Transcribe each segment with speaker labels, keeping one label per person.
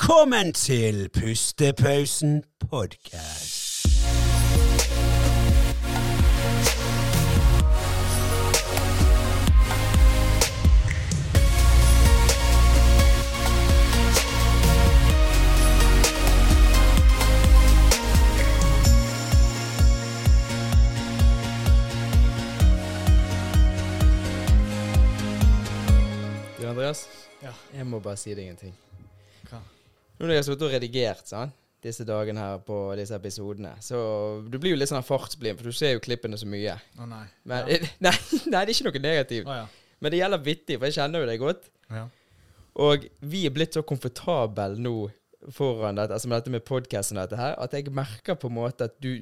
Speaker 1: Velkommen til Pustepausen podcast.
Speaker 2: Du, Andreas,
Speaker 3: Ja.
Speaker 2: jeg må bare si deg en ting.
Speaker 3: Hva?
Speaker 2: Nå når jeg har sittet og redigert sant? disse dagene her på disse episodene, så du blir jo litt sånn fartsblind, for du ser jo klippene så mye.
Speaker 3: Å nei.
Speaker 2: Men, nei, nei, det er ikke noe negativt.
Speaker 3: Å ja.
Speaker 2: Men det gjelder vittig, for jeg kjenner jo deg godt.
Speaker 3: ja.
Speaker 2: Og vi er blitt så komfortable nå foran dette, altså med dette med podcasten og dette her, at jeg merker på en måte at du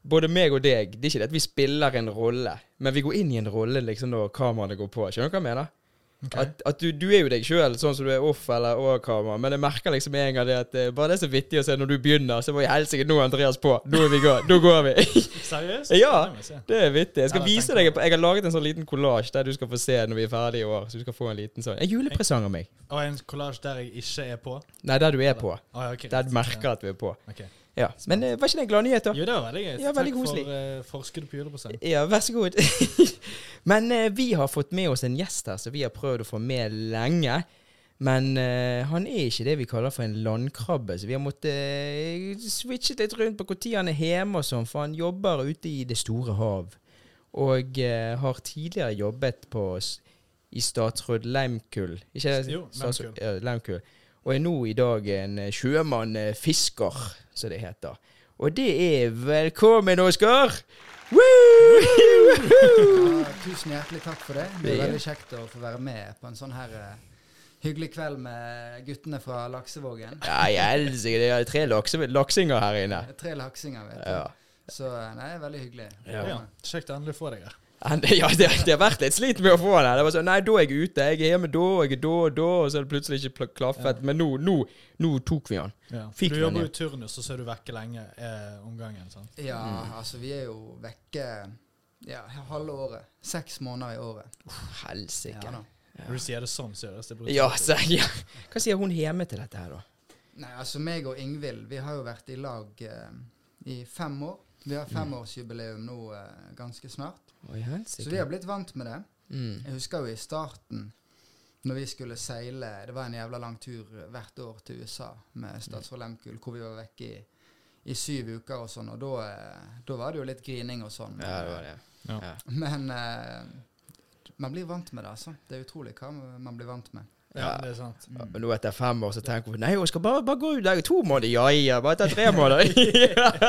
Speaker 2: både meg og deg, det er ikke det at vi spiller en rolle, men vi går inn i en rolle liksom når kameraene går på. Skjønner du hva jeg mener?
Speaker 3: Ok.
Speaker 2: At, at du, du er jo deg sjøl, sånn som du er off eller over kamera, men jeg merker liksom en gang det at eh, bare det er så vittig å se når du begynner, så må jeg helsike nå er Andreas på. Nå er vi gå, nå går vi.
Speaker 3: Seriøst?
Speaker 2: Ja.
Speaker 3: Det må jeg se.
Speaker 2: det er vittig. Jeg skal
Speaker 3: Ja, det
Speaker 2: vise
Speaker 3: tenker
Speaker 2: deg
Speaker 3: jeg.
Speaker 2: Jeg har laget en sånn liten kollasj der du skal få se når vi er ferdige i år. Så du skal få en liten sånn En julepresang av meg.
Speaker 3: Og en kollasj der jeg ikke er på?
Speaker 2: Nei, der du er på.
Speaker 3: Å, ja, ok.
Speaker 2: Der du merker at vi er på.
Speaker 3: Ok.
Speaker 2: Ja. Men eh, var ikke det en gladnyhet, da?
Speaker 3: Jo, det var veldig gøy.
Speaker 2: Ja, veldig
Speaker 3: Takk
Speaker 2: koselig.
Speaker 3: for eh, forskuddet på julepresang.
Speaker 2: Ja, vær så god. Men eh, vi har fått med oss en gjest her som vi har prøvd å få med lenge. Men eh, han er ikke det vi kaller for en landkrabbe, så vi har måttet eh, switche litt rundt på når han er hjemme og sånn, for han jobber ute i det store hav. Og eh, har tidligere jobbet på s- i statsråd Leimkull. Ikke det?
Speaker 3: Jo,
Speaker 2: Statsråd- ja, Leimkull. Og er nå i dag en eh, sjømann eh, fisker, som det heter. Og det er velkommen, Oskar! Woo!
Speaker 4: Ja, Tusen hjertelig takk for det. Det er
Speaker 2: Ja.
Speaker 4: veldig kjekt å få være med på en sånn her eh, hyggelig kveld med guttene fra Laksevågen.
Speaker 2: Ja, jeg elsker det. Jeg har tre lakse, laksinger her inne.
Speaker 4: Tre laksinger, vet du.
Speaker 2: Ja.
Speaker 4: Så eh, nei, veldig hyggelig.
Speaker 2: Ja.
Speaker 3: Ja. Kjekt å endelig få deg her.
Speaker 2: Han- ja, det, det har vært litt slit med å få den. Det var sånn, Nei, da er jeg ute. Jeg er hjemme da, og jeg er da og da. Og så er det plutselig ikke pl- klaffet. Men nå, nå, nå tok vi han.
Speaker 3: Ja.
Speaker 2: Fikk
Speaker 3: Du
Speaker 2: den,
Speaker 3: jobber
Speaker 2: ja.
Speaker 3: jo i turnus, og så er du vekke lenge eh, om gangen. sant?
Speaker 4: Ja,
Speaker 2: Mm.
Speaker 4: altså vi er jo vekke ja, halve året. Seks måneder i året.
Speaker 2: Helsike.
Speaker 4: Ja, da.
Speaker 3: Når du sier det sånn, seriøst. Det er brutalt.
Speaker 2: Ja, så, ja. Hva sier hun hjemme til dette her, da?
Speaker 4: Nei, altså meg og Ingvild, vi har jo vært i lag eh, i fem år. Vi
Speaker 2: Mm.
Speaker 4: har femårsjubileum nå eh, ganske snart.
Speaker 2: Oi,
Speaker 4: Så vi
Speaker 2: helsike.
Speaker 4: har blitt vant med det.
Speaker 2: Mm.
Speaker 4: Jeg husker jo i starten, når vi skulle seile Det var en jævla lang tur hvert år til USA
Speaker 2: Mm.
Speaker 4: med statsråd Lehmkuhl, hvor vi var vekke i, i syv uker og sånn, og da, eh, da var det jo litt grining og sånn.
Speaker 2: Ja, det var det.
Speaker 3: Ja.
Speaker 2: Ja.
Speaker 4: Men eh, man blir vant med det, altså. Det er utrolig hva man blir vant med.
Speaker 3: Ja, det er sant.
Speaker 4: mm.
Speaker 2: Ja, Og nå etter fem år så tenker hun Nei, jeg skal bare, bare gå ut der i to måneder. Ja, ja, bare etter tre måneder.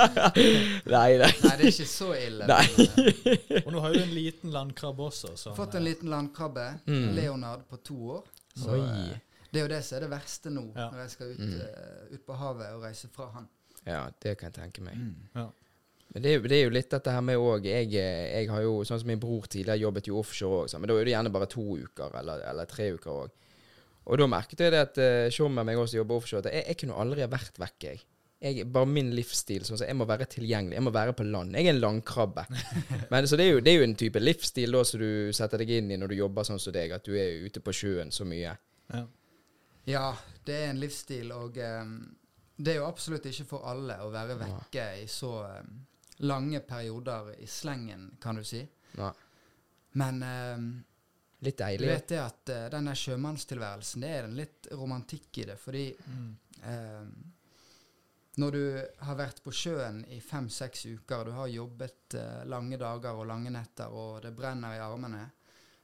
Speaker 2: nei, nei.
Speaker 4: Nei, det er ikke så ille.
Speaker 2: Nei.
Speaker 4: Men, eh,
Speaker 3: Og nå har jo du en liten landkrabbe også. Sånn,
Speaker 4: fått en liten landkrabbe,
Speaker 2: Mm.
Speaker 4: Leonard, på to år. Så,
Speaker 2: Oi.
Speaker 4: eh, det er jo det som er det verste nå,
Speaker 3: Ja.
Speaker 4: når jeg skal ut,
Speaker 2: Mm.
Speaker 4: eh, ut på havet og reise fra han.
Speaker 2: Ja, det kan jeg tenke
Speaker 4: Mm.
Speaker 2: meg.
Speaker 3: Ja.
Speaker 2: Men det er, jo- det er jo litt dette her med òg jeg, eh, jeg har jo, sånn som min bror tidligere jobbet jo offshore òg, men da er det gjerne bare to uker eller, eller tre uker òg. Og da merket jeg det at uh, Tjommen meg også jobber offshore, at jeg, jeg kunne aldri ha vært vekk, jeg. jeg. Bare min livsstil. sånn så Jeg må være tilgjengelig. Jeg må være på land. Jeg er en landkrabbe. Men så det er jo, det er jo en type livsstil da som du setter deg inn i når du jobber sånn som deg, at du er ute på sjøen så mye.
Speaker 3: Ja.
Speaker 4: Ja, det er en livsstil, og em, det er jo absolutt ikke for alle å være vekke i så em, lange perioder i slengen, kan du si.
Speaker 2: Nei,
Speaker 4: Men em,
Speaker 2: litt
Speaker 4: du
Speaker 2: deilig.
Speaker 4: vet det at eh, den der sjømannstilværelsen, det er en litt romantikk i det, fordi
Speaker 3: Mm.
Speaker 4: em, Eh, når du har vært på sjøen i fem-seks uker, og du har jobbet eh, lange dager og lange netter, og det brenner i armene,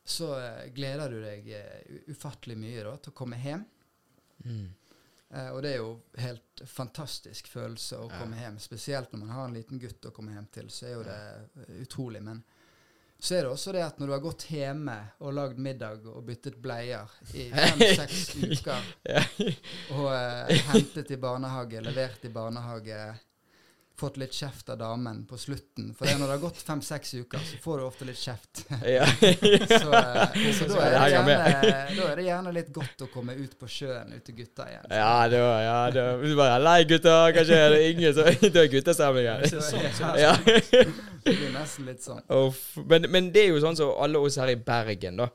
Speaker 4: så eh, gleder du deg eh, u- ufattelig mye da, til å komme hjem.
Speaker 2: Mm.
Speaker 4: Eh, og det er jo helt fantastisk følelse å
Speaker 2: Ja.
Speaker 4: komme hjem. Spesielt når man har en liten gutt å komme hjem til, så er jo det eh, utrolig. Men så er det også det at når du har gått hjemme og lagd middag og byttet bleier i fem-seks uker,
Speaker 2: Ja.
Speaker 4: og eh, hentet i barnehage, levert i barnehage, fått litt kjeft av damen på slutten For det er når det har gått fem-seks uker, så får du ofte litt kjeft. Så, eh, så da, er det
Speaker 2: henger
Speaker 4: gjerne,
Speaker 2: med.
Speaker 4: da er det gjerne litt godt å komme ut på sjøen ute gutta igjen.
Speaker 2: Ja, det var, ja, det var. Du bare Nei, gutter, kanskje er det ingen som Det er guttestemning her.
Speaker 3: Det er sånn, sånn.
Speaker 2: Ja.
Speaker 4: eh, Det blir nesten litt sånn.
Speaker 2: Uff. Men, men det er jo sånn som alle oss her i Bergen, da.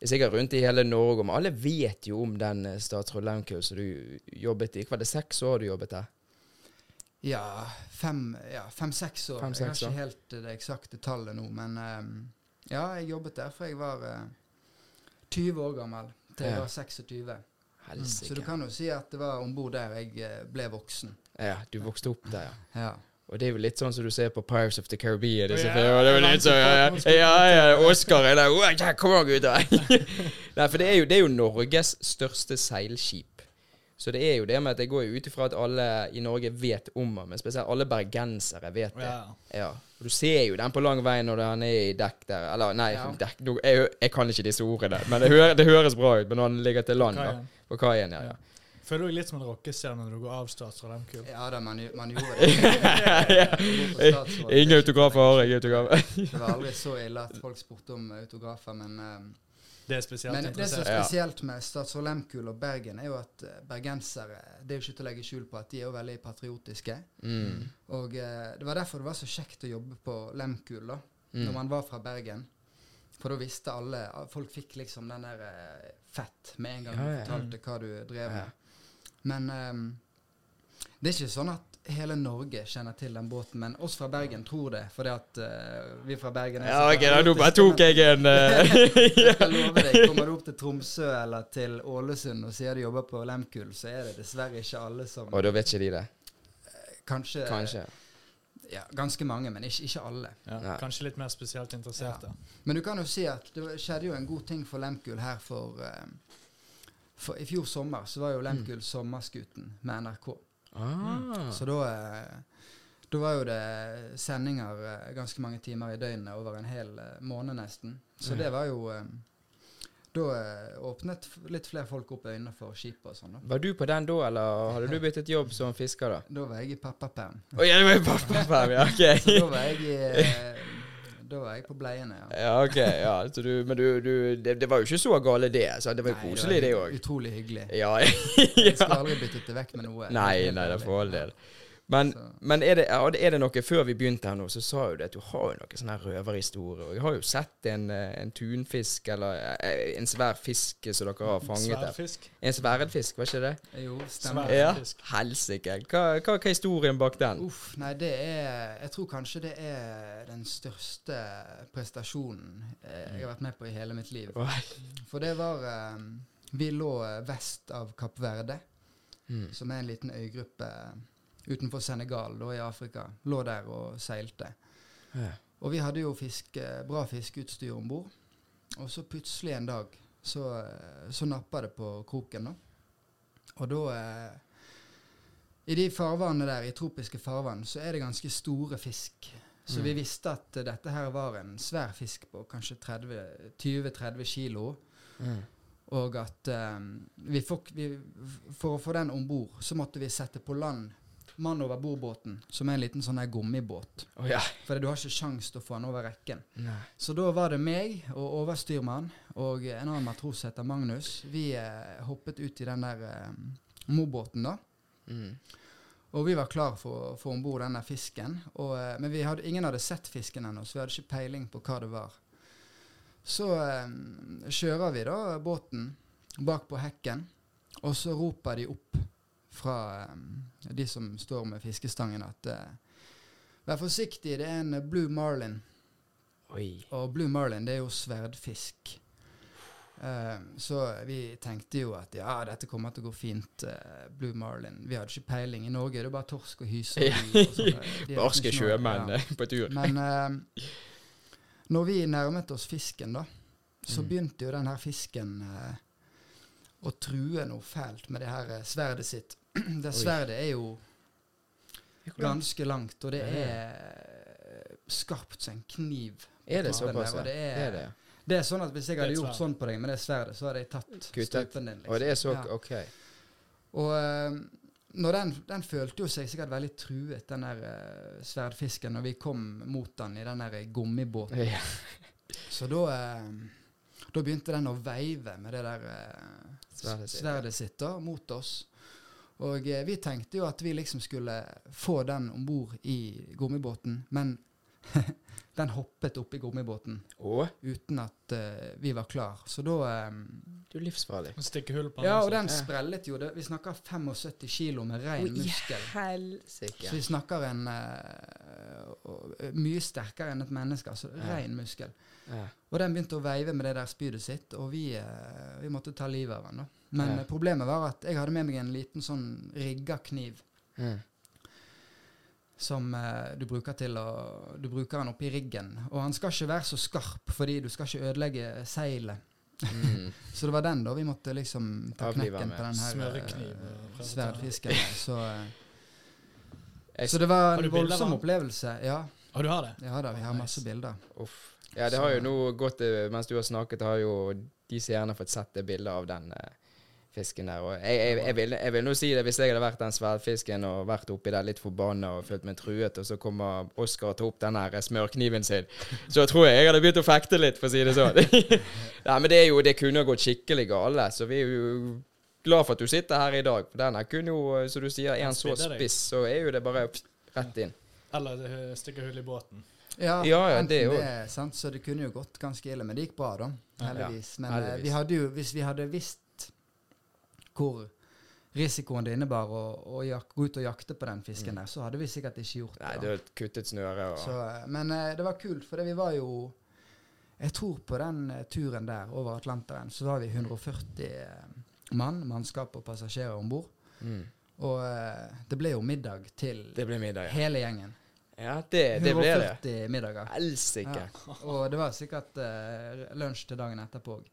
Speaker 2: Det er sikkert rundt i hele Norge, men alle vet jo om den eh, statsråd Lehmkuhl som du jobbet i. Hva var det, seks år du jobbet der?
Speaker 4: Ja, fem-seks ja, fem, seks år.
Speaker 2: Fem, seks
Speaker 4: jeg
Speaker 2: år.
Speaker 4: har ikke helt eh, det eksakte tallet nå, men eh, ja, jeg jobbet der fra jeg var eh, 20 år gammel til jeg
Speaker 2: Ja.
Speaker 4: var 26. Så du
Speaker 2: Helsike.
Speaker 4: kan jo si at det var om bord der jeg eh, ble voksen.
Speaker 2: Ja, du vokste opp der, ja.
Speaker 4: Ja.
Speaker 2: Og det er jo litt sånn som du ser på Pirates of the Caribbean. Disse
Speaker 3: Ja,
Speaker 2: filmene. Det er jo litt sånn, ja, ja, ja, ja, Oscar er der. «Åh, ja, Kom igjen, gutter! Nei, for det er, jo, det er jo Norges største seilskip. Så det er jo det med at jeg går jo ut ifra at alle i Norge vet om den, men spesielt alle bergensere vet det.
Speaker 3: Ja.
Speaker 2: Ja. Og du ser jo den på lang vei når han er i dekk der. Eller, nei,
Speaker 4: Ja.
Speaker 2: dekk nå- jeg, jeg kan ikke disse ordene, men det, hø- det høres bra ut. Men når han ligger til land, da.
Speaker 3: Kaien.
Speaker 2: På kaien, ja. ja.
Speaker 3: Føler du deg litt som en rockestjerne når du går av Statsråd Lehmkuhl?
Speaker 4: ja da, man, gj- man gjorde det.
Speaker 2: Ingen autografer har jeg. autografer.
Speaker 4: Det var aldri så ille at folk spurte om autografer, men eh,
Speaker 3: Det er spesielt
Speaker 4: Men det som er
Speaker 3: interessert.
Speaker 2: Ja.
Speaker 4: spesielt med Statsråd Lehmkuhl og Bergen, er jo at eh, bergensere Det er jo ikke til å legge skjul på at de er jo veldig patriotiske.
Speaker 2: Mm.
Speaker 4: Og eh, det var derfor det var så kjekt å jobbe på Lehmkuhl, da. Når
Speaker 2: Mm.
Speaker 4: man var fra Bergen. For da visste alle ah, Folk fikk liksom den der eh, fett med en gang
Speaker 2: Ja,
Speaker 4: du
Speaker 2: ja.
Speaker 4: fortalte hva du drev
Speaker 2: Ja.
Speaker 4: med. Men eh, det er ikke sånn at hele Norge kjenner til den båten, men oss fra Bergen tror det, fordi at eh, vi fra Bergen
Speaker 2: Ja,
Speaker 4: så
Speaker 2: ok, da nå
Speaker 4: patriotiske,
Speaker 2: bare
Speaker 4: men-
Speaker 2: tok jeg en eh,
Speaker 4: jeg skal love deg, Kommer du opp til Tromsø eller til Ålesund og sier du jobber på Lehmkuhl, så er det dessverre ikke alle som
Speaker 2: Og da vet ikke de det.
Speaker 4: Kanskje,
Speaker 2: Kanskje.
Speaker 4: Ja, ganske mange, men ikke, ikke alle.
Speaker 3: Ja.
Speaker 2: Nei.
Speaker 3: Kanskje litt mer spesielt interesserte.
Speaker 4: Men du kan jo si at det skjedde jo en god ting for Lehmkuhl her for, eh, for I fjor sommer så var jo
Speaker 2: Mm.
Speaker 4: Lehmkuhl Sommerskuten med NRK.
Speaker 2: Ah.
Speaker 4: Så da eh, da var jo det sendinger eh, ganske mange timer i døgnet over en hel eh, måned nesten. Så det var jo eh, Da eh, åpnet f- litt flere folk opp øynene for skipet og sånn, da.
Speaker 2: Var du på den da, eller hadde du byttet jobb som fisker da?
Speaker 4: Da var jeg i pappaperm.
Speaker 2: Å ja, det var jo pappaperm, ja,
Speaker 4: Så da
Speaker 2: ok.
Speaker 4: var jeg, i, eh, da var jeg på bleiene, ja.
Speaker 2: Ja, ok, ja, så du, men du, du det, det var jo ikke så gale det, så det var jo
Speaker 4: Nei,
Speaker 2: koselig det
Speaker 4: var
Speaker 2: òg.
Speaker 4: Utrolig hyggelig.
Speaker 2: Ja,
Speaker 4: Jeg
Speaker 2: ja.
Speaker 4: skulle aldri byttet det vekk med noe.
Speaker 2: Nei,
Speaker 4: Helt
Speaker 2: nei, det
Speaker 4: ærlig.
Speaker 2: får holde det. Men,
Speaker 4: Så-
Speaker 2: men er, det, ja, er det noe Før vi begynte her nå, så sa jo du at du har jo noen sånne her røverhistorier. Og jeg har jo sett en, eh, en tunfisk, eller eh, en svær fisk som dere har fanget der.
Speaker 3: Sværfisk.
Speaker 2: En sverdfisk, var ikke det?
Speaker 4: Jo, stemmer.
Speaker 3: Svær.
Speaker 2: Ja.
Speaker 3: Fisk.
Speaker 2: Helsike. Hva, hva, hva er historien bak den?
Speaker 4: Uff, nei, det er Jeg tror kanskje det er den største prestasjonen eh, jeg har vært med på i hele mitt liv.
Speaker 2: Oi.
Speaker 4: For det var eh, Vi lå eh, vest av Kapp Verde,
Speaker 2: Mm.
Speaker 4: som er en liten øygruppe eh, utenfor Senegal, da i Afrika. Lå der og seilte.
Speaker 2: Ja.
Speaker 4: Og vi hadde jo fiske, bra fiskeutstyr om bord. Og så plutselig en dag så, eh, så nappa det på kroken, da. Og da eh, I de farvannene der, i tropiske farvann, så er det ganske store fisk. Så
Speaker 2: Mm.
Speaker 4: vi visste at eh, dette her var en svær fisk på kanskje 30 20-30 kilo.
Speaker 2: Mm.
Speaker 4: Og at eh, vi fikk, vi, For å få den om bord, så måtte vi sette på land mann over bord-båten, som er en liten sånn her gummibåt.
Speaker 2: Å ja.
Speaker 4: For du har ikke sjans til å få den over rekken.
Speaker 2: Nei.
Speaker 4: Så da var det meg og overstyrmann og en annen matros heter Magnus. Vi eh, hoppet ut i den der eh, mobåten, da.
Speaker 2: Mm.
Speaker 4: Og vi var klar for å få om bord denne fisken. Og, eh, men vi hadde, ingen hadde sett fisken ennå, så vi hadde ikke peiling på hva det var. Så eh, kjører vi da båten bak på hekken, og så roper de opp fra eh, de som står med fiskestangen at eh, Vær forsiktig, det er en blue marlin.
Speaker 2: Oi.
Speaker 4: Og Blue Marlin, det er jo sverdfisk. Eh, så vi tenkte jo at ja, dette kommer til å gå fint. eh, Blue Marlin. Vi hadde ikke peiling. I Norge er det bare torsk og hyse.
Speaker 2: Ja.
Speaker 4: og sånt der. De er
Speaker 2: Barske
Speaker 4: liksom ikke noe-
Speaker 2: sjømenn
Speaker 4: ja.
Speaker 2: eh, på tur.
Speaker 4: Men eh, når vi nærmet oss fisken, da,
Speaker 2: Mm.
Speaker 4: så begynte jo den her fisken eh, å true noe fælt med det her eh, sverdet sitt. det sverdet er jo ganske langt, og det er eh, skarpt som en kniv.
Speaker 2: Er det
Speaker 4: Ja, den
Speaker 2: såpass? ja?
Speaker 4: der, og det er-
Speaker 2: Det er det. ja.
Speaker 4: Det er sånn at Hvis jeg
Speaker 3: Det er
Speaker 4: hadde
Speaker 3: et
Speaker 4: gjort
Speaker 3: sverd.
Speaker 4: sånn på deg med det sverdet, så hadde jeg tatt
Speaker 2: Kuttet.
Speaker 4: strupen din. liksom.
Speaker 2: Og det er så
Speaker 4: Ja.
Speaker 2: OK.
Speaker 4: Og eh, når den, den følte jo seg sikkert veldig truet, den der eh, sverdfisken, når vi kom mot den i den der eh, gummibåten.
Speaker 2: Ja.
Speaker 4: Så da, eh, da begynte den å veive med det der eh,
Speaker 2: Sverdet sitt.
Speaker 4: sverdet sitt da, mot oss. Og eh, vi tenkte jo at vi liksom skulle få den om bord i gummibåten, men den hoppet oppi gummibåten
Speaker 2: Å,
Speaker 4: uten at eh, vi var klar. Så da eh,
Speaker 2: du er livsfarlig.
Speaker 3: Stikke hull på den. altså.
Speaker 4: Ja,
Speaker 3: også.
Speaker 4: og den
Speaker 2: Ja.
Speaker 4: sprellet jo. Det, vi snakker 75 kilo med rein
Speaker 2: Å, i
Speaker 4: muskel. Så
Speaker 2: Helsike.
Speaker 4: vi snakker en eh, og- mye sterkere enn et menneske. Altså
Speaker 2: Ja.
Speaker 4: rein muskel.
Speaker 2: Ja.
Speaker 4: Og den begynte å veive med det der spydet sitt, og vi, eh, vi måtte ta livet av den. da. Men
Speaker 2: Ja.
Speaker 4: eh, problemet var at jeg hadde med meg en liten sånn rigga kniv
Speaker 2: Mm.
Speaker 4: som eh, du bruker til å Du bruker den oppi riggen. Og han skal ikke være så skarp, fordi du skal ikke ødelegge seilet.
Speaker 2: Mm.
Speaker 4: Så det var den, da. Vi måtte liksom ta
Speaker 2: Avlive
Speaker 4: knekken
Speaker 2: med
Speaker 4: på den her
Speaker 3: smørekniv,
Speaker 4: eh,
Speaker 3: eh,
Speaker 4: sverdfisken. der. Så, eh,
Speaker 2: Jeg
Speaker 4: så det
Speaker 3: Har
Speaker 4: var en
Speaker 3: du bilder av
Speaker 4: voldsom
Speaker 3: han?
Speaker 4: opplevelse. Ja,
Speaker 3: Å, du har det?
Speaker 4: ja da, vi har
Speaker 3: Nice.
Speaker 4: masse bilder.
Speaker 2: Uff. Ja, det har jo nå gått eh, Mens du har snakket, har jo de seerne fått sett det bildet av den eh, fisken der. Og jeg, jeg, jeg, vil, jeg vil nå si det, hvis jeg hadde vært den sverdfisken og vært oppi der litt forbanna og følt meg truet, og så kommer Oskar og tar opp den her eh, smørkniven sin, så tror jeg jeg hadde begynt å fekte litt, for å si det sånn. Nei, men det er jo Det kunne ha gått skikkelig gale, så vi er jo glad for at du sitter her i dag. For den her kunne jo, eh, som du sier, er
Speaker 3: Den
Speaker 2: den så
Speaker 3: spidder deg.
Speaker 2: spiss, så er jo det bare pff, rett inn.
Speaker 3: Eller eh, stikke hull i båten.
Speaker 4: Ja,
Speaker 2: Ja, ja,
Speaker 4: enten
Speaker 2: det òg.
Speaker 4: sant? Så det kunne jo gått ganske ille, men det gikk bra, da. Heldigvis. Men eh,
Speaker 2: heldigvis.
Speaker 4: vi hadde jo, hvis vi hadde visst hvor risikoen det innebar å, å jak gå ut og jakte på den fisken der, så hadde vi sikkert ikke gjort
Speaker 2: Mm. Nei,
Speaker 4: det.
Speaker 2: du
Speaker 4: da.
Speaker 2: har kuttet snøret og
Speaker 4: Så, eh, men eh, det var kult, for vi var jo Jeg tror på den eh, turen der over Atlanteren, så var vi 140 mann, mannskap og passasjerer om bord.
Speaker 2: mm.
Speaker 4: Og eh, det ble jo middag til
Speaker 2: Det blir middag, ja.
Speaker 4: hele gjengen.
Speaker 2: Ja, det, det ble det.
Speaker 4: 140 middager.
Speaker 2: Helsike.
Speaker 4: Og det var sikkert eh, lunsj til dagen etterpå òg.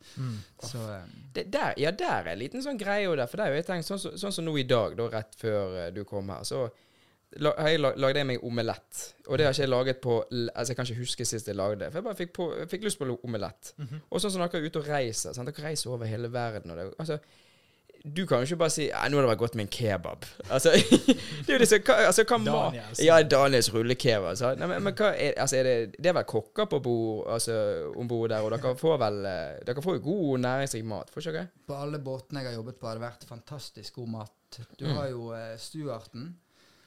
Speaker 4: Så eh,
Speaker 2: Det der- Ja, der er en liten sånn greie og der. For det er jo jeg tenkt, sånn, som- sånn som nå i dag, da, rett før eh, du kom her, så la, har jeg la- lagde jeg meg omelett. Og det har ikke jeg laget på l- Altså, jeg kan ikke huske sist jeg lagde det. For jeg bare fikk, på, jeg fikk lyst på lo- omelett.
Speaker 4: Mhm.
Speaker 2: Og sånn som dere er ute og reiser. Sant? Dere reiser over hele verden. Og det, altså, du kan jo ikke bare si «Nei, 'Nå hadde det vært godt med en kebab'. Altså, det er jo liksom, hva, altså, hva mat
Speaker 3: Daniels.
Speaker 2: Ja, Daniels rullekebab. Altså. Nei, men, men hva er, altså, er det, det er vel kokker på bord, altså, om bord der, og dere får vel eh, Dere får jo god, næringsrik mat, får ikke dere?
Speaker 4: på alle båtene jeg har jobbet på, har det vært fantastisk god mat. Du
Speaker 2: Mm.
Speaker 4: har jo eh, Stuarten,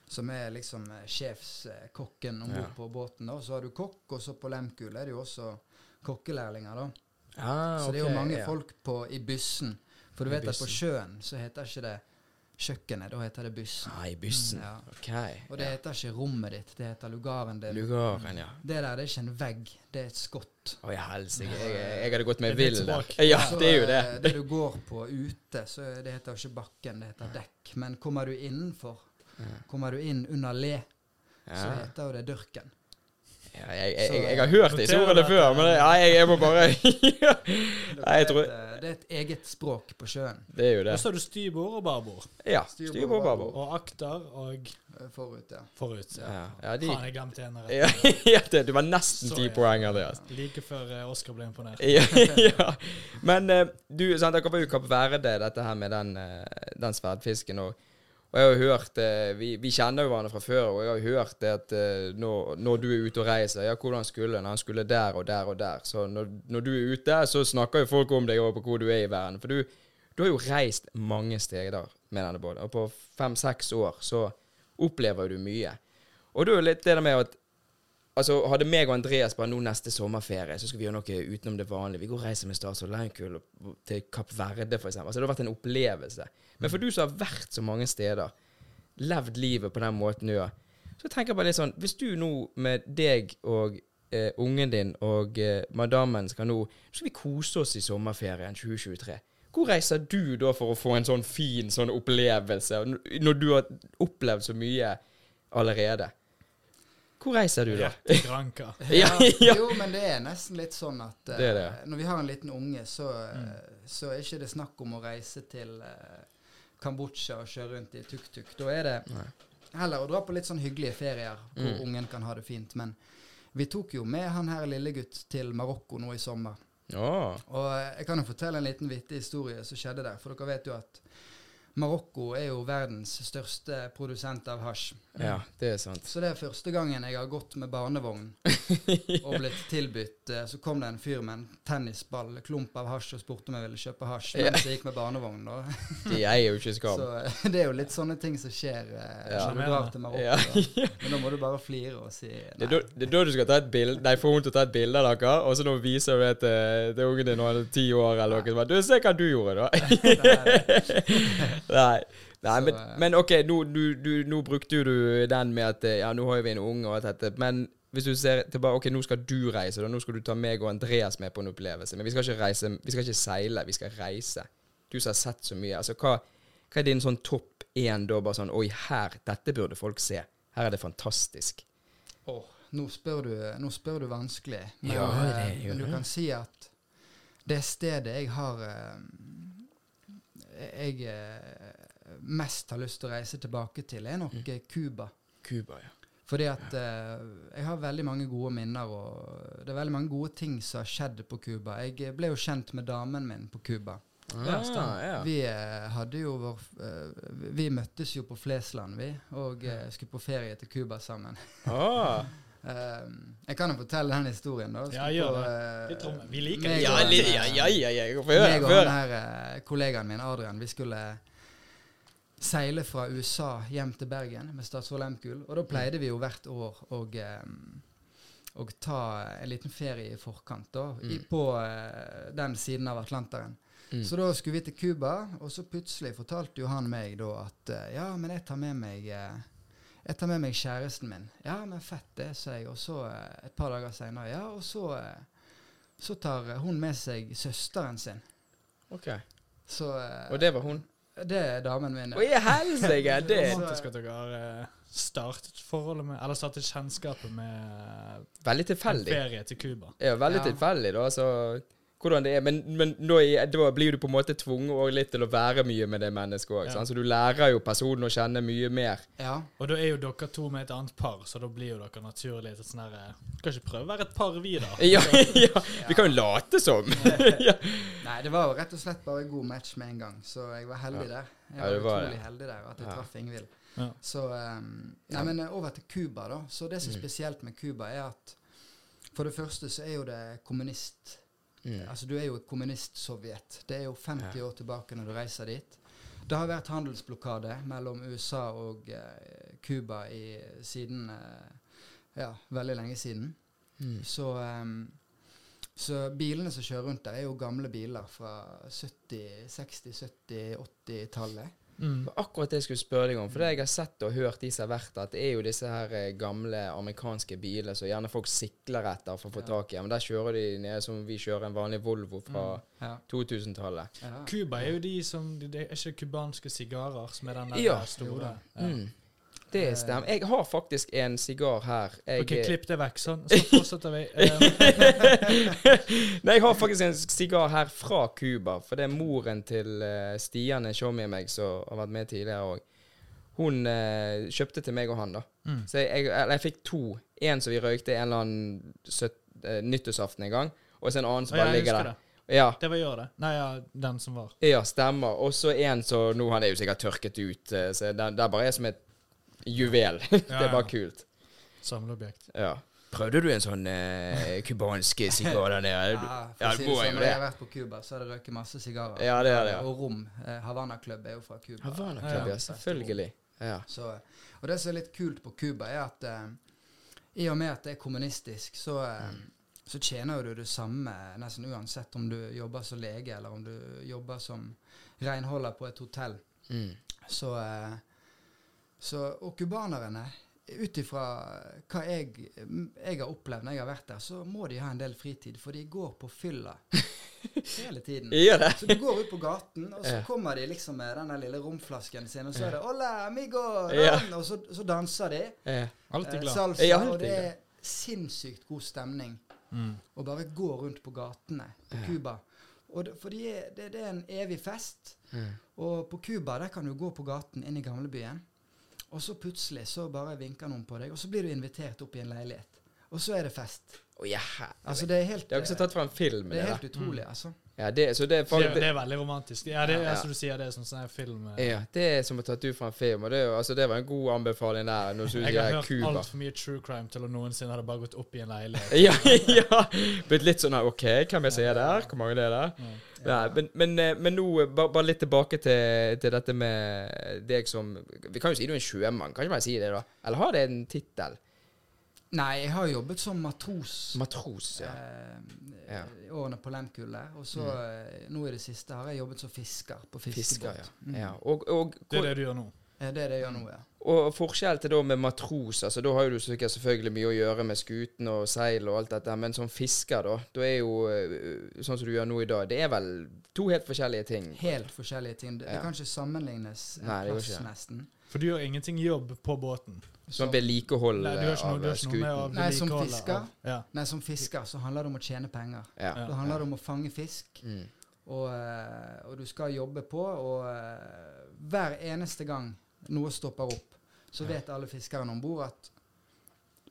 Speaker 4: som er liksom eh, sjefskokken om bord
Speaker 2: Ja.
Speaker 4: på båten. da. Og så har du kokk, og så på Lemkul er det jo også kokkelærlinger, da.
Speaker 2: Ah,
Speaker 4: Så det er jo mange
Speaker 2: ja.
Speaker 4: folk på, i bussen. For
Speaker 2: I
Speaker 4: du vet at på
Speaker 2: bussen.
Speaker 4: sjøen så heter ikke det kjøkkenet, da heter det bussen.
Speaker 2: Ah, I bussen.
Speaker 4: Ja.
Speaker 2: OK.
Speaker 4: Mm. Og det heter ikke rommet ditt, det heter lugaren din.
Speaker 2: Lugaren, ja.
Speaker 4: Det der det er ikke en vegg, det er et skott.
Speaker 2: Å, ja, helsike. Jeg, jeg hadde gått meg
Speaker 3: Det er
Speaker 2: vill
Speaker 3: litt
Speaker 2: der.
Speaker 3: språk.
Speaker 2: Ja,
Speaker 4: Så,
Speaker 2: det er jo det.
Speaker 4: eh, Det du går på ute, så det heter jo ikke bakken, det heter dekk. Men kommer du innenfor, kommer du inn under le,
Speaker 2: Ja.
Speaker 4: så heter jo det dørken.
Speaker 2: Ja, jeg, jeg,
Speaker 4: Så,
Speaker 2: jeg, jeg har hørt disse
Speaker 3: noterer
Speaker 2: ordene
Speaker 3: dette.
Speaker 2: før, men ja, jeg, jeg må bare Nei, jeg tror
Speaker 4: det, er et, eh, det er et eget språk på sjøen.
Speaker 2: Det er jo det.
Speaker 3: Og så har du styrbord og babord.
Speaker 2: Ja. Styrbord og babord.
Speaker 3: Og akter og
Speaker 4: eh, Forut, ja.
Speaker 3: forut.
Speaker 2: Ja, ja, de,
Speaker 3: Faen, jeg glemte en. her.
Speaker 2: ja, ja, det- du var nesten
Speaker 3: Så,
Speaker 2: ti
Speaker 3: ja.
Speaker 2: poeng, Andreas.
Speaker 3: Like før eh, Oscar ble imponert.
Speaker 2: Ja, ja. Men eh, du, sant, dere var jo i Kapp Verde, dette her med den, eh, den sverdfisken. Og, og jeg har jo hørt eh, vi, vi kjenner jo hverandre fra før, og jeg har jo hørt det at eh, når, når du er ute og reiser Ja, hvordan skulle han? Han skulle der og der og der. Så når, når du er ute, så snakker jo folk om deg og på hvor du er i verden. For du, du har jo reist mange steder med denne båten, og på fem-seks år så opplever du mye. Og da er jo litt det der med at Altså, Hadde meg og Andreas bare nå neste sommerferie, så skal vi gjøre noe utenom det vanlige. Vi går og reiser med Stas og Leinkull og- til Kapp Verde, for eksempel. Altså, det har vært en opplevelse. Men for du som har vært så mange steder, levd livet på den måten du gjør, så tenker jeg bare litt sånn Hvis du nå med deg og eh, ungen din og eh, madammen skal nå Nå skal vi kose oss i sommerferien 2023. Hvor reiser du da for å få en sånn fin sånn opplevelse, n- når du har opplevd så mye allerede? Hvor reiser du da?
Speaker 3: Rett til Granca.
Speaker 2: Ja, ja.
Speaker 4: Jo, men det er nesten litt sånn at eh,
Speaker 2: Det Mm. er det.
Speaker 4: når vi har en liten unge, så, eh, så er ikke det snakk om å reise til eh, Kambodsja og kjøre rundt i tuk-tuk. Da er det heller å dra på litt sånn hyggelige ferier hvor
Speaker 2: Mm.
Speaker 4: ungen kan ha det fint. Men vi tok jo med han her lillegutt til Marokko nå i sommer.
Speaker 2: Åh.
Speaker 4: Og eh, jeg kan jo fortelle en liten vittig historie som skjedde der. For dere vet jo at Marokko er jo verdens største produsent av hasj.
Speaker 2: Ja, det er sant.
Speaker 4: Så det er første gangen jeg har gått med barnevogn og blitt tilbudt eh, Så kom det en fyr med en tennisball, klump av hasj, og spurte om jeg ville kjøpe hasj
Speaker 2: Ja.
Speaker 4: mens jeg gikk med barnevogn. Da.
Speaker 2: De eier jo ikke skam.
Speaker 4: Så eh, det er jo litt sånne ting som skjer eh,
Speaker 2: Ja.
Speaker 4: når du drar til Marokko.
Speaker 2: Ja.
Speaker 4: da. Men da må du bare flire og si
Speaker 2: Det
Speaker 4: nei.
Speaker 2: er, da, det er da du skal ta et bilde Nei, få henne til å ta et bilde av dere, og så nå viser du det til, til ungen din når han er ti år eller noe sånt. Du, se hva du gjorde, da.
Speaker 4: eh,
Speaker 2: Nei. Nei,
Speaker 4: Så,
Speaker 2: men,
Speaker 4: eh.
Speaker 2: men OK, nå, du, du, nå brukte jo du den med at eh, Ja, nå har jo vi en unge og alt dette, men hvis du ser tilbake OK, nå skal du reise, da. Nå skal du ta meg og Andreas med på en opplevelse. Men vi skal ikke reise Vi skal ikke seile, vi skal reise. Du som har sett så mye. Altså, hva, hva er din sånn topp én da? Bare sånn Oi, her. Dette burde folk se. Her er det fantastisk.
Speaker 4: Åh, nå, spør du, nå spør du vanskelig, men,
Speaker 2: Ja, det
Speaker 4: eh,
Speaker 2: gjør
Speaker 4: men du
Speaker 2: det.
Speaker 4: kan si at det stedet jeg har eh, Jeg eh, mest har lyst til å reise tilbake til, er
Speaker 2: Mm.
Speaker 4: nok eh, Cuba.
Speaker 2: Cuba, ja.
Speaker 4: Fordi at eh, jeg har veldig mange gode minner, og det er veldig mange gode ting som har skjedd på Cuba. Jeg eh, ble jo kjent med damen min på Cuba.
Speaker 3: Ah,
Speaker 2: Ja, stemmer. Ja.
Speaker 4: Vi eh, hadde jo vår eh, Vi møttes jo på Flesland, vi, og eh, skulle på ferie til Cuba sammen.
Speaker 2: Ah.
Speaker 4: Eh, jeg kan jo fortelle den historien, da.
Speaker 3: Ja,
Speaker 4: Skulle
Speaker 3: gjør
Speaker 4: på, eh,
Speaker 3: Litt om- vi liker
Speaker 4: meg
Speaker 3: det.
Speaker 2: ja,
Speaker 4: og en,
Speaker 2: li- ja, ja, ja, ja. Få høre.
Speaker 4: meg
Speaker 2: få
Speaker 4: og
Speaker 2: høre.
Speaker 4: han her eh, kollegaen min, Adrian, vi skulle seile fra USA hjem til Bergen med Statsråd Lehmkuhl. Og da pleide vi jo hvert år å eh, å ta en liten ferie i forkant, da, i, på eh, den siden av Atlanteren.
Speaker 2: Mm.
Speaker 4: Så da skulle vi til Cuba, og så plutselig fortalte jo han meg da at eh, ja, men jeg tar med meg eh, jeg tar med meg kjæresten min. Ja, men fett det, sa jeg. Og så eh, et par dager seinere, ja, og så eh, så tar eh, hun med seg søsteren sin.
Speaker 2: Ok.
Speaker 4: Så eh,
Speaker 2: Og det var hun.
Speaker 4: det er damen min.
Speaker 2: Å, i helsike!
Speaker 3: Det
Speaker 2: Det
Speaker 3: er
Speaker 2: er
Speaker 3: romantisk at dere har eh, startet forholdet med Eller startet kjennskapet med eh,
Speaker 2: veldig
Speaker 3: en
Speaker 2: tilfeldig.
Speaker 3: ferie til Cuba.
Speaker 2: Ja, veldig
Speaker 4: Ja.
Speaker 2: tilfeldig, da. Altså, hvordan det er. Men, men nå i- da blir du på en måte tvunget og litt til å være mye med det mennesket òg.
Speaker 3: Ja.
Speaker 2: Så du lærer jo personen å kjenne mye mer.
Speaker 4: Ja.
Speaker 3: Og da er jo dere to med et annet par, så da blir jo dere naturlig et sånn herre Kan ikke prøve å være et par, vi, da?
Speaker 2: Ja, ja. Vi kan jo late som. ja.
Speaker 4: Nei, det var jo rett og slett bare en god match med en gang, så jeg var heldig der. Jeg
Speaker 2: Ja,
Speaker 4: var
Speaker 2: det var
Speaker 4: utrolig
Speaker 2: det.
Speaker 4: heldig der at jeg
Speaker 2: Ja.
Speaker 4: traff Ingvild.
Speaker 3: Ja.
Speaker 4: Så eh, Nei, men eh, over til Cuba, da. Så
Speaker 2: Mm.
Speaker 4: det som er spesielt med Cuba, er at for det første så er jo det kommunist...
Speaker 2: Mm.
Speaker 4: Altså, du er jo i kommunist-Sovjet. Det er jo 50 år tilbake når du reiser dit. Det har vært handelsblokade mellom USA og eh, Cuba i- siden eh, Ja, veldig lenge siden.
Speaker 2: Mm.
Speaker 4: Så, ehm, så bilene som kjører rundt der, er jo gamle biler fra 70-, 60-, 70-, 80-tallet.
Speaker 3: Mm.
Speaker 2: Det var akkurat det jeg skulle spørre deg om. For det jeg har sett og hørt de som har vært der, at det er jo disse her eh, gamle amerikanske biler som gjerne folk sikler etter for å få
Speaker 4: Ja.
Speaker 2: tak i. Men der kjører de ned som vi kjører en vanlig Volvo fra
Speaker 4: Ja.
Speaker 2: 2000-tallet.
Speaker 4: Ja.
Speaker 3: Cuba er jo de som Det er ikke kubanske sigarer som er den der
Speaker 2: Ja.
Speaker 4: Jo
Speaker 3: store
Speaker 4: da.
Speaker 3: ja.
Speaker 2: Mm. Det stemmer. Jeg har faktisk en sigar her. Jeg,
Speaker 3: Ok, klipp det vekk. Sånn, så fortsetter vi. Um,
Speaker 2: Nei, jeg har faktisk en sigar her fra Cuba. For det er moren til eh, Stian en showmee meg som har vært med tidligere òg. Hun eh, kjøpte til meg og han, da.
Speaker 3: Mm.
Speaker 2: Så jeg, jeg, eller jeg fikk to. En som vi røykte en eller annen søt, eh, nyttårsaften en gang. Og så en annen som
Speaker 3: ja,
Speaker 2: bare
Speaker 3: jeg
Speaker 2: ligger
Speaker 3: husker
Speaker 2: der.
Speaker 3: det.
Speaker 2: Ja,
Speaker 3: Det var gjør det. Nei, ja, den som var.
Speaker 2: ja, stemmer. Og så en som nå Han er jo sikkert tørket ut, eh, så den der bare er som et juvel. det er
Speaker 3: ja.
Speaker 2: bare kult.
Speaker 3: Samleobjekt.
Speaker 2: Ja. Prøvde du en sånn cubansk sigar der nede?
Speaker 4: Ja, for
Speaker 2: Ja,
Speaker 4: å
Speaker 2: det
Speaker 4: si det
Speaker 2: må jeg
Speaker 4: sånn,
Speaker 2: jo
Speaker 4: når jeg har
Speaker 2: det.
Speaker 4: vært på Cuba, så har det røket masse sigarer.
Speaker 2: Ja, det er det, ja.
Speaker 4: Og rom. Eh, Havana Club er jo fra Cuba.
Speaker 2: Havana
Speaker 3: Ja,
Speaker 2: Club, ja. Selvfølgelig. Ja.
Speaker 4: Så, og det som er litt kult på Cuba, er at eh, i og med at det er kommunistisk, så, eh, så tjener jo du det samme nesten uansett om du jobber som lege eller om du jobber som renholder på et hotell.
Speaker 2: Mm.
Speaker 4: Så, eh, så Og cubanerne, ut ifra hva jeg, jeg har opplevd når jeg har vært der, så må de ha en del fritid, for de går på fylla hele tiden.
Speaker 2: Gjør det?
Speaker 4: Så du går ut på gaten, og så
Speaker 2: Ja.
Speaker 4: kommer de liksom med den der lille romflasken sin, og så er det 'Hola, amigo!'
Speaker 2: Ja.
Speaker 4: ron», Og så, så danser de
Speaker 2: Eh,
Speaker 3: Alltid
Speaker 4: eh,
Speaker 3: glad.
Speaker 4: salsa,
Speaker 2: Jeg er alltid
Speaker 4: og det er sinnssykt god stemning
Speaker 3: Mm.
Speaker 4: å bare gå rundt på gatene på Cuba. Og det, for de er, det, det er en evig fest.
Speaker 2: Mm.
Speaker 4: Og på Cuba der kan du gå på gaten inn i gamlebyen, og så plutselig så bare vinker noen på deg, og så blir du invitert opp i en leilighet. Og så er det fest.
Speaker 2: Å, ja.
Speaker 4: Altså, det er helt
Speaker 2: Det har jeg også
Speaker 4: eh,
Speaker 2: tatt fra en film.
Speaker 4: det er
Speaker 2: Det
Speaker 4: helt utrolig, altså.
Speaker 2: der. Ja, det, så det er
Speaker 3: Det,
Speaker 2: faktisk
Speaker 3: det er veldig romantisk. Ja, det
Speaker 2: Ja.
Speaker 3: er som du sier, det er sånn sånn her film eh,
Speaker 2: Ja, det er som å tatt ut fra en film. Og det, er jo- altså, det var en god anbefaling der. Nå synes
Speaker 3: Jeg har
Speaker 2: jeg
Speaker 3: hørt
Speaker 2: Cuba.
Speaker 3: altfor mye true crime til å noensinne hadde bare gått opp i en leilighet.
Speaker 2: Ja, ja. Blitt litt sånn her, OK, hvem jeg ser der? Hvor mange det er der?
Speaker 3: Ja.
Speaker 2: Nei, men, men, eh, men nå eh, ba- bare litt tilbake til, til dette med deg som Vi kan jo si du er en sjømann, kan ikke bare si det, da? Eller har det en tittel?
Speaker 4: Nei, jeg har jobbet som matros
Speaker 2: Matros, ja.
Speaker 4: eh,
Speaker 2: Ja. Mm.
Speaker 4: i årene på Lehmkullet. Og så eh, nå i det siste har jeg jobbet som fisker på
Speaker 2: Fisker,
Speaker 4: fiskebåt. Mm.
Speaker 2: ja. ja. Og, og,
Speaker 3: Det er det du gjør nå.
Speaker 4: Eh, Det er det jeg gjør nå, ja.
Speaker 2: Og forskjell til da med matros, altså da har jo du sikkert selvfølgelig mye å gjøre med skuten og seil og alt dette, men som fisker da, da er jo øh, sånn som du gjør nå i dag, det er vel to helt forskjellige ting.
Speaker 4: Helt forskjellige ting. Det,
Speaker 2: Ja.
Speaker 4: det kan ikke sammenlignes en
Speaker 2: Nei, det går
Speaker 4: plass,
Speaker 2: ikke det.
Speaker 4: nesten.
Speaker 3: For du gjør ingenting jobb på båten.
Speaker 2: Sånn vedlikehold
Speaker 3: Nei, du har
Speaker 2: eh,
Speaker 3: ikke
Speaker 2: av
Speaker 3: noe, du har ikke noe med å
Speaker 2: skuten.
Speaker 4: Nei, som
Speaker 3: vedlikeholde
Speaker 4: fisker.
Speaker 3: av- Ja.
Speaker 4: Nei, som fisker så handler det om å tjene penger.
Speaker 2: Ja.
Speaker 3: Ja.
Speaker 4: Da handler det om å fange fisk,
Speaker 2: Mm.
Speaker 4: og, eh, og du skal jobbe på, og eh, hver eneste gang noe stopper opp, så vet alle fiskerne om bord at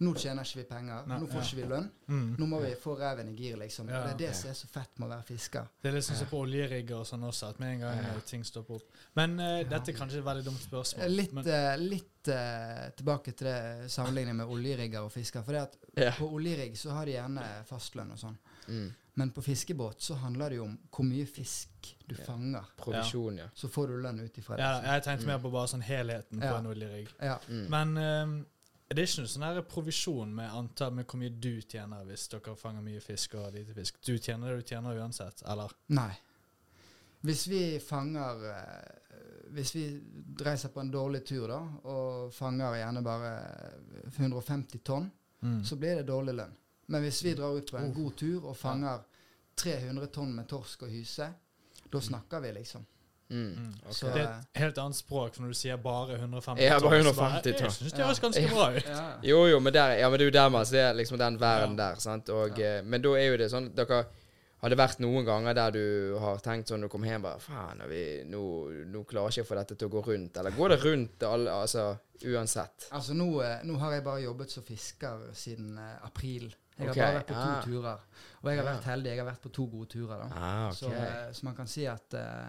Speaker 4: nå tjener ikke vi penger,
Speaker 3: Nei,
Speaker 4: nå får
Speaker 3: ja.
Speaker 4: ikke vi lønn,
Speaker 3: Mm.
Speaker 4: nå må vi få reven i gir, liksom.
Speaker 3: Ja,
Speaker 4: Og det er
Speaker 2: ja.
Speaker 4: det som er så fett med å være fisker.
Speaker 3: Det er litt sånn som på oljerigger og sånn også, at med en gang eh, ting stopper opp. Men eh, dette er kanskje et veldig dumt
Speaker 4: Eh,
Speaker 3: spørsmål.
Speaker 4: Litt,
Speaker 3: men,
Speaker 4: eh, litt eh, tilbake til det sammenlignet med oljerigger og fisker, for det at
Speaker 2: Ja.
Speaker 4: på oljerigg så har de gjerne fastlønn og sånn,
Speaker 2: Mm.
Speaker 4: men på fiskebåt så handler det jo om hvor mye fisk du
Speaker 2: Ja.
Speaker 4: fanger,
Speaker 2: Provisjon, ja.
Speaker 4: så får du lønn ut ifra det.
Speaker 3: ja, jeg tenkte mer på bare sånn helheten på
Speaker 4: mm. Ja.
Speaker 3: en oljerigg.
Speaker 4: Ja.
Speaker 2: Mm.
Speaker 3: Men eh, det er ikke noe sånn her provisjon med antall med hvor mye du tjener hvis dere fanger mye fisk og lite fisk. Du tjener det du tjener uansett, eller?
Speaker 4: Nei. Hvis vi fanger eh, Hvis vi reiser på en dårlig tur, da, og fanger gjerne bare 150 tonn,
Speaker 2: Mm.
Speaker 3: Mm.
Speaker 4: så blir det dårlig lønn. Men hvis vi drar ut på en god tur og fanger 300 tonn med torsk og hyse, da snakker vi, liksom.
Speaker 2: Mm.
Speaker 3: Mm.
Speaker 2: Ok.
Speaker 4: Så
Speaker 3: Det er et helt annet språk for når du sier bare 150
Speaker 2: Ja, bare
Speaker 3: så
Speaker 2: 150
Speaker 3: Jeg
Speaker 2: tonn.
Speaker 3: synes det høres ganske bra ut.
Speaker 4: eh, ja.
Speaker 2: Jo, jo, men, der, ja, men det er jo der man ser liksom den verden der. sant? Og,
Speaker 4: Ja.
Speaker 2: eh, Men da er jo det sånn at dere har det vært noen ganger der du har tenkt sånn når du kom hjem bare, faen, er vi- nå, nå klarer jeg ikke å få dette til å gå rundt. Eller går det rundt alle, altså, uansett?
Speaker 4: Altså, nå, eh, nå har jeg bare jobbet som fisker siden eh, april. Jeg har
Speaker 2: Ok,
Speaker 4: bare vært på to
Speaker 2: ja.
Speaker 4: turer. Og jeg har
Speaker 2: Ja.
Speaker 4: vært heldig. Jeg har vært på to gode turer, da.
Speaker 2: Ah,
Speaker 4: Så, eh, så man kan si at eh,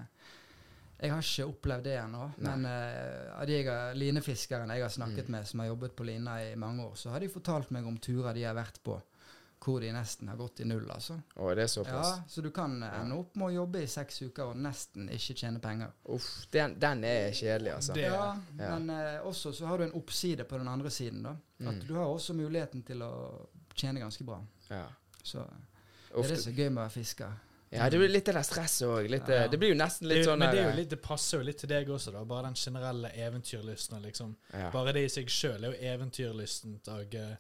Speaker 4: Jeg har ikke opplevd det ennå.
Speaker 2: Nei. Mm.
Speaker 4: Men eh, av de jeg har- linefiskerne jeg har snakket med, som har jobbet på lina i mange år, så har de fortalt meg om turer de har vært på hvor de nesten har gått i null, altså.
Speaker 2: Å, det er
Speaker 4: Ja,
Speaker 2: såpass?
Speaker 4: så du kan eh, ende opp med å jobbe i seks uker og nesten ikke tjene penger.
Speaker 2: Uff, den, den er kjedelig, altså.
Speaker 3: Det-
Speaker 4: Ja,
Speaker 2: Ja.
Speaker 4: men eh, også så har du en oppside på den andre siden, da. At
Speaker 2: Mm.
Speaker 4: du har også muligheten til å tjene ganske bra.
Speaker 2: Ja.
Speaker 4: Så det er det
Speaker 2: Ofte.
Speaker 4: som er gøy med å være fisker.
Speaker 2: ja, det blir litt av det stresset òg.
Speaker 3: Ja.
Speaker 2: Det blir jo nesten litt
Speaker 3: det,
Speaker 2: sånn
Speaker 3: men det, er
Speaker 2: der,
Speaker 3: jo litt, det passer jo litt til deg også, da. Bare den generelle eventyrlysten. og Liksom.
Speaker 2: ja.
Speaker 3: Bare det i seg sjøl er jo eventyrlysten. Og eh,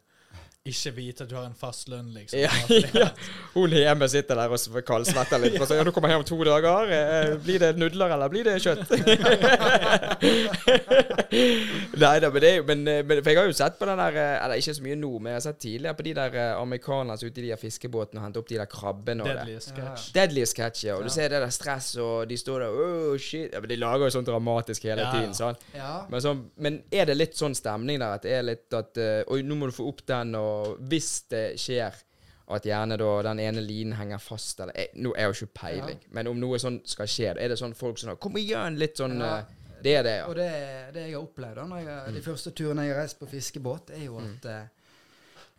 Speaker 3: ikke vite at du har en fast lønn, liksom.
Speaker 2: Ja, ja. Hun hjemme sitter der og s- kaldsvetter litt. Og så, ja, du kommer hjem om to dager. eh, Blir det nudler, eller blir det kjøtt? Nei da, men det er jo men, eh, men, For jeg har jo sett på den der eh, Eller ikke så mye nå, men jeg har sett tidligere på de der eh, amerikanerne som er ute i de der fiskebåtene og henter opp de der krabbene. og det.
Speaker 3: Deadly sketch.
Speaker 2: Deadly sketsj, ja. Og du ser det der stress, og de står der oh, shit. Ja, men De lager jo sånn dramatisk hele
Speaker 3: Ja, ja.
Speaker 2: tiden. sant?
Speaker 4: Ja,
Speaker 2: Men, sånn, men er det litt sånn stemning der at det er litt at eh, Oi, nå må du få opp den, og hvis det skjer at gjerne da den ene linen henger fast, eller jeg, Nå er jeg jo ikke peiling, men om noe sånn skal skje, da er det sånn folk som har Kom igjen! Litt sånn
Speaker 4: Ja.
Speaker 2: eh, Det er det, ja. Mm.
Speaker 4: Og det, det jeg har opplevd da, når jeg, de første turene jeg har reist på fiskebåt, er jo at eh,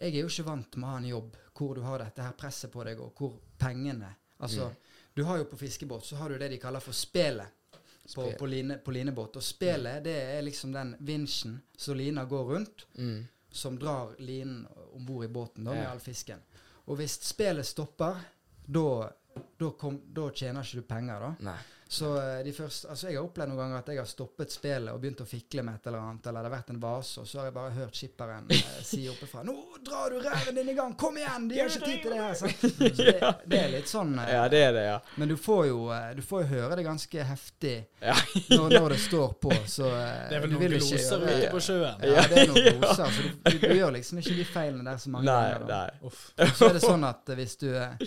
Speaker 4: jeg er jo ikke vant med å ha en jobb hvor du har dette her presset på deg, og hvor pengene Altså,
Speaker 2: Mm.
Speaker 4: du har jo på fiskebåt så har du det de kaller for spelet. På,
Speaker 2: Spel.
Speaker 4: på, line, på linebåt. Og spelet, det er liksom den vinsjen som lina går rundt,
Speaker 2: Mm.
Speaker 4: som drar linen om bord i båten da, med
Speaker 2: Ja.
Speaker 4: all fisken. Og hvis spelet stopper, da da kom- da tjener ikke du penger, da.
Speaker 2: Nei.
Speaker 4: Så eh, de første, altså jeg har opplevd noen ganger at jeg har stoppet spillet og begynt å fikle med et eller annet, eller det har vært en vase, og så har jeg bare hørt skipperen eh, si oppefra 'Nå drar du ræven din i gang! Kom igjen! De har ikke tid til det her!' sant? Så det, det er litt sånn. eh,
Speaker 2: Ja, det er det, ja.
Speaker 4: Men du får jo eh, du får jo høre det ganske heftig
Speaker 2: Ja.
Speaker 4: når, når det står på, så eh,
Speaker 3: Det er vel
Speaker 4: du
Speaker 3: noen
Speaker 4: vil jo ikke
Speaker 3: gloser
Speaker 4: gjøre-
Speaker 3: ute på sjøen.
Speaker 4: Ja, det er noen gloser, så du, du, du gjør liksom ikke de feilene der så mange
Speaker 2: Nei,
Speaker 4: ganger. da.
Speaker 2: nei.
Speaker 3: Uff.
Speaker 4: Så er det sånn at eh, hvis du eh,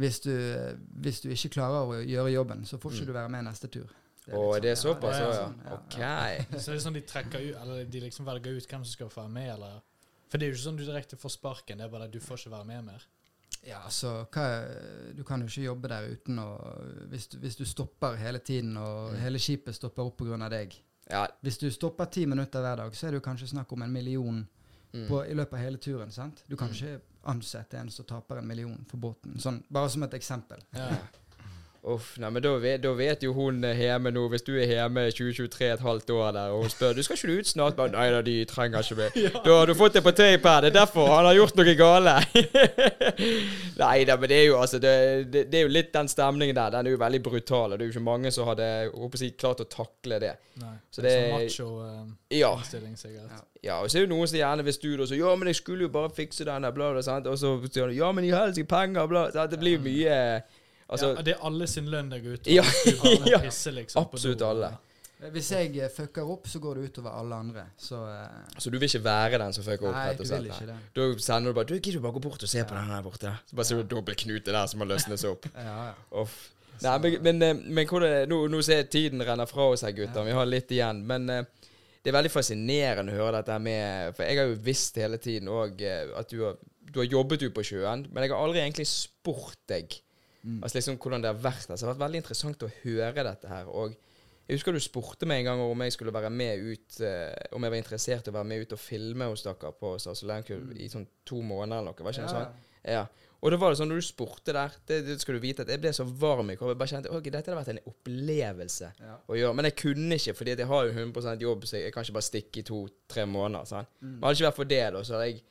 Speaker 4: hvis du, eh, hvis du ikke klarer å gjøre jobben, så får ikke du være med neste tur. Det er
Speaker 2: Mm. Å,
Speaker 4: litt sånn,
Speaker 2: det er
Speaker 4: ja,
Speaker 2: såpass,
Speaker 4: litt
Speaker 2: ja.
Speaker 4: sånn,
Speaker 2: ja.
Speaker 4: ja.
Speaker 2: OK.
Speaker 3: Så det er sånn de trekker ut, eller de liksom velger ut hvem som skal få være med, eller For det er jo ikke sånn du direkte får sparken, det er bare at du får ikke være med mer.
Speaker 4: Ja, altså, hva, du kan jo ikke jobbe der uten å Hvis du, hvis du stopper hele tiden, og
Speaker 2: Mm.
Speaker 4: hele skipet stopper opp pga. deg
Speaker 2: Ja.
Speaker 4: Hvis du stopper ti minutter hver dag, så er det jo kanskje snakk om en million
Speaker 2: Mm.
Speaker 4: på, i løpet av hele turen. sant? Du kan
Speaker 2: Mm.
Speaker 4: ikke ansette en som taper en million for båten. Sånn, bare som et eksempel.
Speaker 3: Ja.
Speaker 2: Uff, nei, men da vet, da vet jo hun hjemme nå, hvis du er hjemme i 2023 et halvt år der, og hun spør du skal ikke du ut snart, bare nei da, de trenger ikke meg. Da har du fått det på tape her, det er derfor han har gjort noe gale. nei da, men det er jo altså, det, det, det er jo litt den stemningen der, den er jo veldig brutal, og det er jo ikke mange som hadde, jeg håper å si, klart å takle det.
Speaker 3: Nei.
Speaker 2: Så
Speaker 3: det er
Speaker 2: det-
Speaker 3: sånn macho-innstilling,
Speaker 2: Ja,
Speaker 3: sikkert.
Speaker 4: Ja.
Speaker 2: ja, og så er det noen som gjerne vil styre og så, ja, men jeg skulle jo bare fikse denne, bla, bla, sant, og så sier han, ja, men jeg har ikke penger, bla, sant, det blir jo mye, altså,
Speaker 3: ja, det er alle sin lønn der ute.
Speaker 2: Ja,
Speaker 3: Du bare
Speaker 2: ja.
Speaker 3: pisser liksom på
Speaker 2: absolutt
Speaker 3: do.
Speaker 2: alle.
Speaker 4: Hvis jeg eh, fucker opp, så går det utover alle andre. Så eh,
Speaker 2: Så du vil ikke være den som fucker opp?
Speaker 4: Nei,
Speaker 2: rett og
Speaker 4: du
Speaker 2: slett,
Speaker 4: vil
Speaker 2: nei.
Speaker 4: ikke det.
Speaker 2: Da sender du bare Du gidder du bare gå bort og se på den der borte. Så bare ser du en dobbel knute der som må løsnes opp.
Speaker 4: Ja, ja.
Speaker 2: Uff. Nei, men, men, eh, men hvordan, nå, nå ser jeg tiden renner fra oss her, gutter. Vi har litt igjen. Men eh, det er veldig fascinerende å høre dette her med For jeg har jo visst hele tiden òg at du har, du har jobbet ute på sjøen, men jeg har aldri egentlig spurt deg Altså liksom hvordan det har vært. Altså, det har vært veldig interessant å høre dette her. Og jeg husker du spurte meg en gang om jeg skulle være med ut eh, Om jeg var interessert i å være med ut og filme hos dere på Sarsolenkum i sånn to måneder eller noe. Var ikke det sånn? Ja. Og da var det sånn, når du spurte der, det, det skal du vite at jeg ble så varm i kroppen. Jeg bare kjente ok, dette har vært en opplevelse
Speaker 4: Ja.
Speaker 2: å gjøre. Men jeg kunne ikke, fordi at jeg har jo 100 jobb, så jeg kan ikke bare stikke i to-tre måneder. sant? Men hadde det ikke vært for det, da, så hadde jeg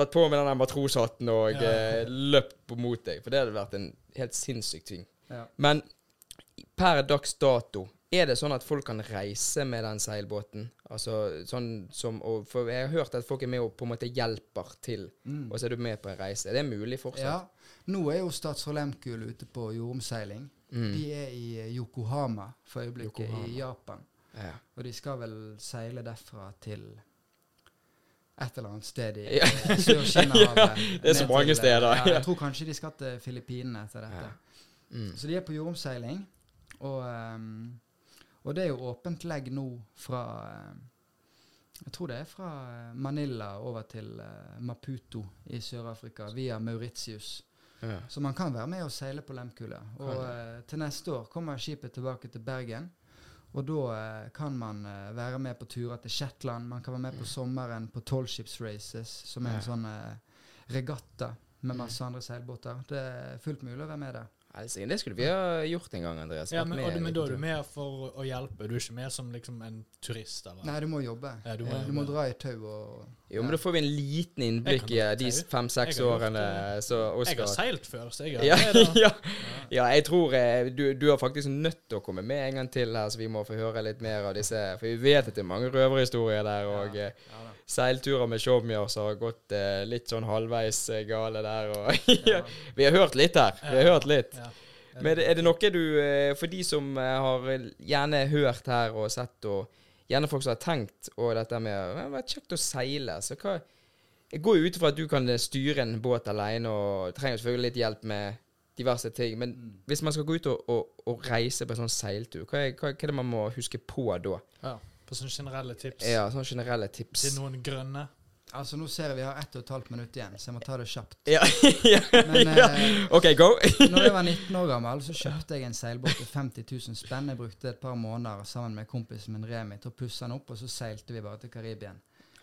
Speaker 2: tatt på meg den der matroshatten og
Speaker 3: Ja.
Speaker 2: eh, løpt mot deg. For det hadde vært en helt sinnssyk ting.
Speaker 4: Ja.
Speaker 2: Men per dags dato, er det sånn at folk kan reise med den seilbåten? Altså sånn som og, For jeg har hørt at folk er med og på en måte hjelper til, Mm. og så er du med på en reise. Er det mulig
Speaker 4: Mm. ja.
Speaker 2: fortsatt?
Speaker 4: Nå er jo Statsråd Lehmkuhl ute på jordomseiling.
Speaker 2: Mm.
Speaker 4: De er i eh, Yokohama for øyeblikket,
Speaker 2: Yokohama.
Speaker 4: i Japan.
Speaker 2: Ja.
Speaker 4: Og de skal vel seile derfra til et eller annet sted i
Speaker 2: Ja.
Speaker 4: eh, Sør-Kina-havet.
Speaker 2: det er så
Speaker 4: Ned
Speaker 2: mange
Speaker 4: til, eh,
Speaker 2: steder.
Speaker 4: Ja,
Speaker 2: Ja.
Speaker 4: jeg tror kanskje de skal til Filippinene etter dette.
Speaker 2: Ja. Mm.
Speaker 4: Så de er på jordomseiling, og, ehm, og det er jo åpent legg nå fra ehm, Jeg tror det er fra eh, Manila over til eh, Maputo i Sør-Afrika via Mauritius.
Speaker 2: Ja.
Speaker 4: Så man kan være med og seile på Lemkula. Og eh, til neste år kommer skipet tilbake til Bergen. Og da eh, kan man eh, være med på turer til Shetland. Man kan være med på sommeren på Tallships Races, som er en
Speaker 2: Mm. Ja. Mm.
Speaker 4: sånn eh, regatta med masse andre seilbåter. Det er fullt mulig å være med der.
Speaker 2: Altså, det skulle vi ha gjort en gang, Andreas.
Speaker 3: Ja,
Speaker 2: Vært
Speaker 3: men,
Speaker 2: med
Speaker 3: og, du-
Speaker 2: en
Speaker 3: men da
Speaker 2: liten
Speaker 3: er du
Speaker 2: tur.
Speaker 3: med for å- å hjelpe. Du er ikke med som liksom en turist, eller?
Speaker 4: Nei, du må jobbe.
Speaker 3: Ja, du må
Speaker 4: Eh,
Speaker 3: jobbe.
Speaker 4: du må dra i tau og
Speaker 2: Jo, men da får vi en liten
Speaker 3: Jeg
Speaker 2: innblikk
Speaker 3: kan
Speaker 2: i eh,
Speaker 3: godt
Speaker 2: de
Speaker 3: si.
Speaker 2: fem-seks
Speaker 3: Jeg har gjort
Speaker 2: årene så
Speaker 3: Jeg har
Speaker 2: Oskar
Speaker 3: seilt før, så jeg er
Speaker 2: ja,
Speaker 3: med, da.
Speaker 2: ja. ja, jeg tror eh, du, du er faktisk nødt til å komme med en gang til her, så vi må få høre litt mer av disse. For vi vet at det er mange røverhistorier der, og eh, seilturer med showmier som har gått eh, litt sånn halvveis eh, gale der. Og, ja. Vi har hørt litt her. Vi har hørt litt.
Speaker 3: Ja.
Speaker 2: Men er det noe du, eh, for de som eh, har gjerne hørt her og sett, og gjerne folk som har tenkt, og dette med eh, det har vært kjekt å seile, så hva jeg går jo ut ifra at du kan eh, styre en båt alene og trenger selvfølgelig litt hjelp med diverse ting. Men hvis man skal gå ut og, og, og reise på en sånn seiltur, hva er, hva, hva er det man må huske på da?
Speaker 3: Ja. På sånne generelle tips.
Speaker 2: Ja, sånne generelle tips.
Speaker 3: Til noen grønne.
Speaker 4: Altså, nå ser jeg vi har ett og et halvt minutt igjen, så jeg må ta det kjapt.
Speaker 2: Ja, ja,
Speaker 4: Men
Speaker 2: ja.
Speaker 4: eh,
Speaker 2: OK, go!
Speaker 4: når jeg var 19 år gammel, så kjøpte jeg en seilbåt til 50 000 spenn. Jeg brukte et par måneder sammen med kompisen min Remi til å pusse den opp, og så seilte vi bare til Karibien.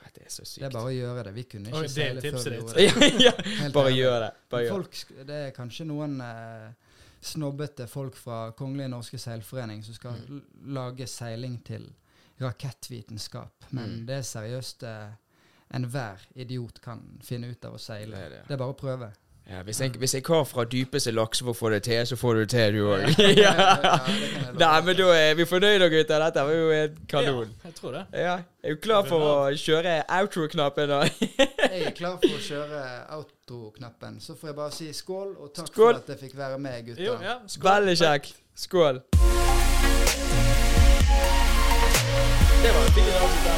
Speaker 2: Nei, Det er så
Speaker 4: Det er
Speaker 2: sykt.
Speaker 4: bare å gjøre det. Vi kunne ikke
Speaker 3: Oi, det er
Speaker 4: seile før
Speaker 3: tipset
Speaker 4: vi
Speaker 3: ditt.
Speaker 4: gjorde det.
Speaker 2: Ja, ja.
Speaker 4: Helt
Speaker 2: Bare
Speaker 4: ærlig.
Speaker 2: gjør det. Bare gjør det.
Speaker 4: Folk, sk- det er kanskje noen eh, snobbete folk fra Kongelige norske seilforening som skal
Speaker 2: Mm.
Speaker 4: l- lage seiling til rakettvitenskap, men
Speaker 2: Mm.
Speaker 4: det er seriøst eh, enhver idiot kan finne ut av å seile.
Speaker 2: Det
Speaker 4: Det
Speaker 2: er
Speaker 4: er,
Speaker 2: det.
Speaker 4: bare å prøve.
Speaker 2: Ja, hvis, en, hvis en kar fra dypeste laksevåg får det til, så får du det til, du òg.
Speaker 4: Ja,
Speaker 2: Ja.
Speaker 4: det kan jeg love.
Speaker 2: Nei, men da er vi fornøyde, gutter. Dette var jo helt kanon.
Speaker 3: Ja, jeg tror det.
Speaker 2: Ja. Er du klar for å kjøre outro-knappen? da?
Speaker 4: Jeg er klar for å kjøre outro-knappen. Så får jeg bare si skål, og takk
Speaker 2: Skål.
Speaker 4: for at jeg fikk være med, gutter.
Speaker 3: Jo, ja. skål.
Speaker 2: Veldig kjekk. Skål. Det var en fin avslutning.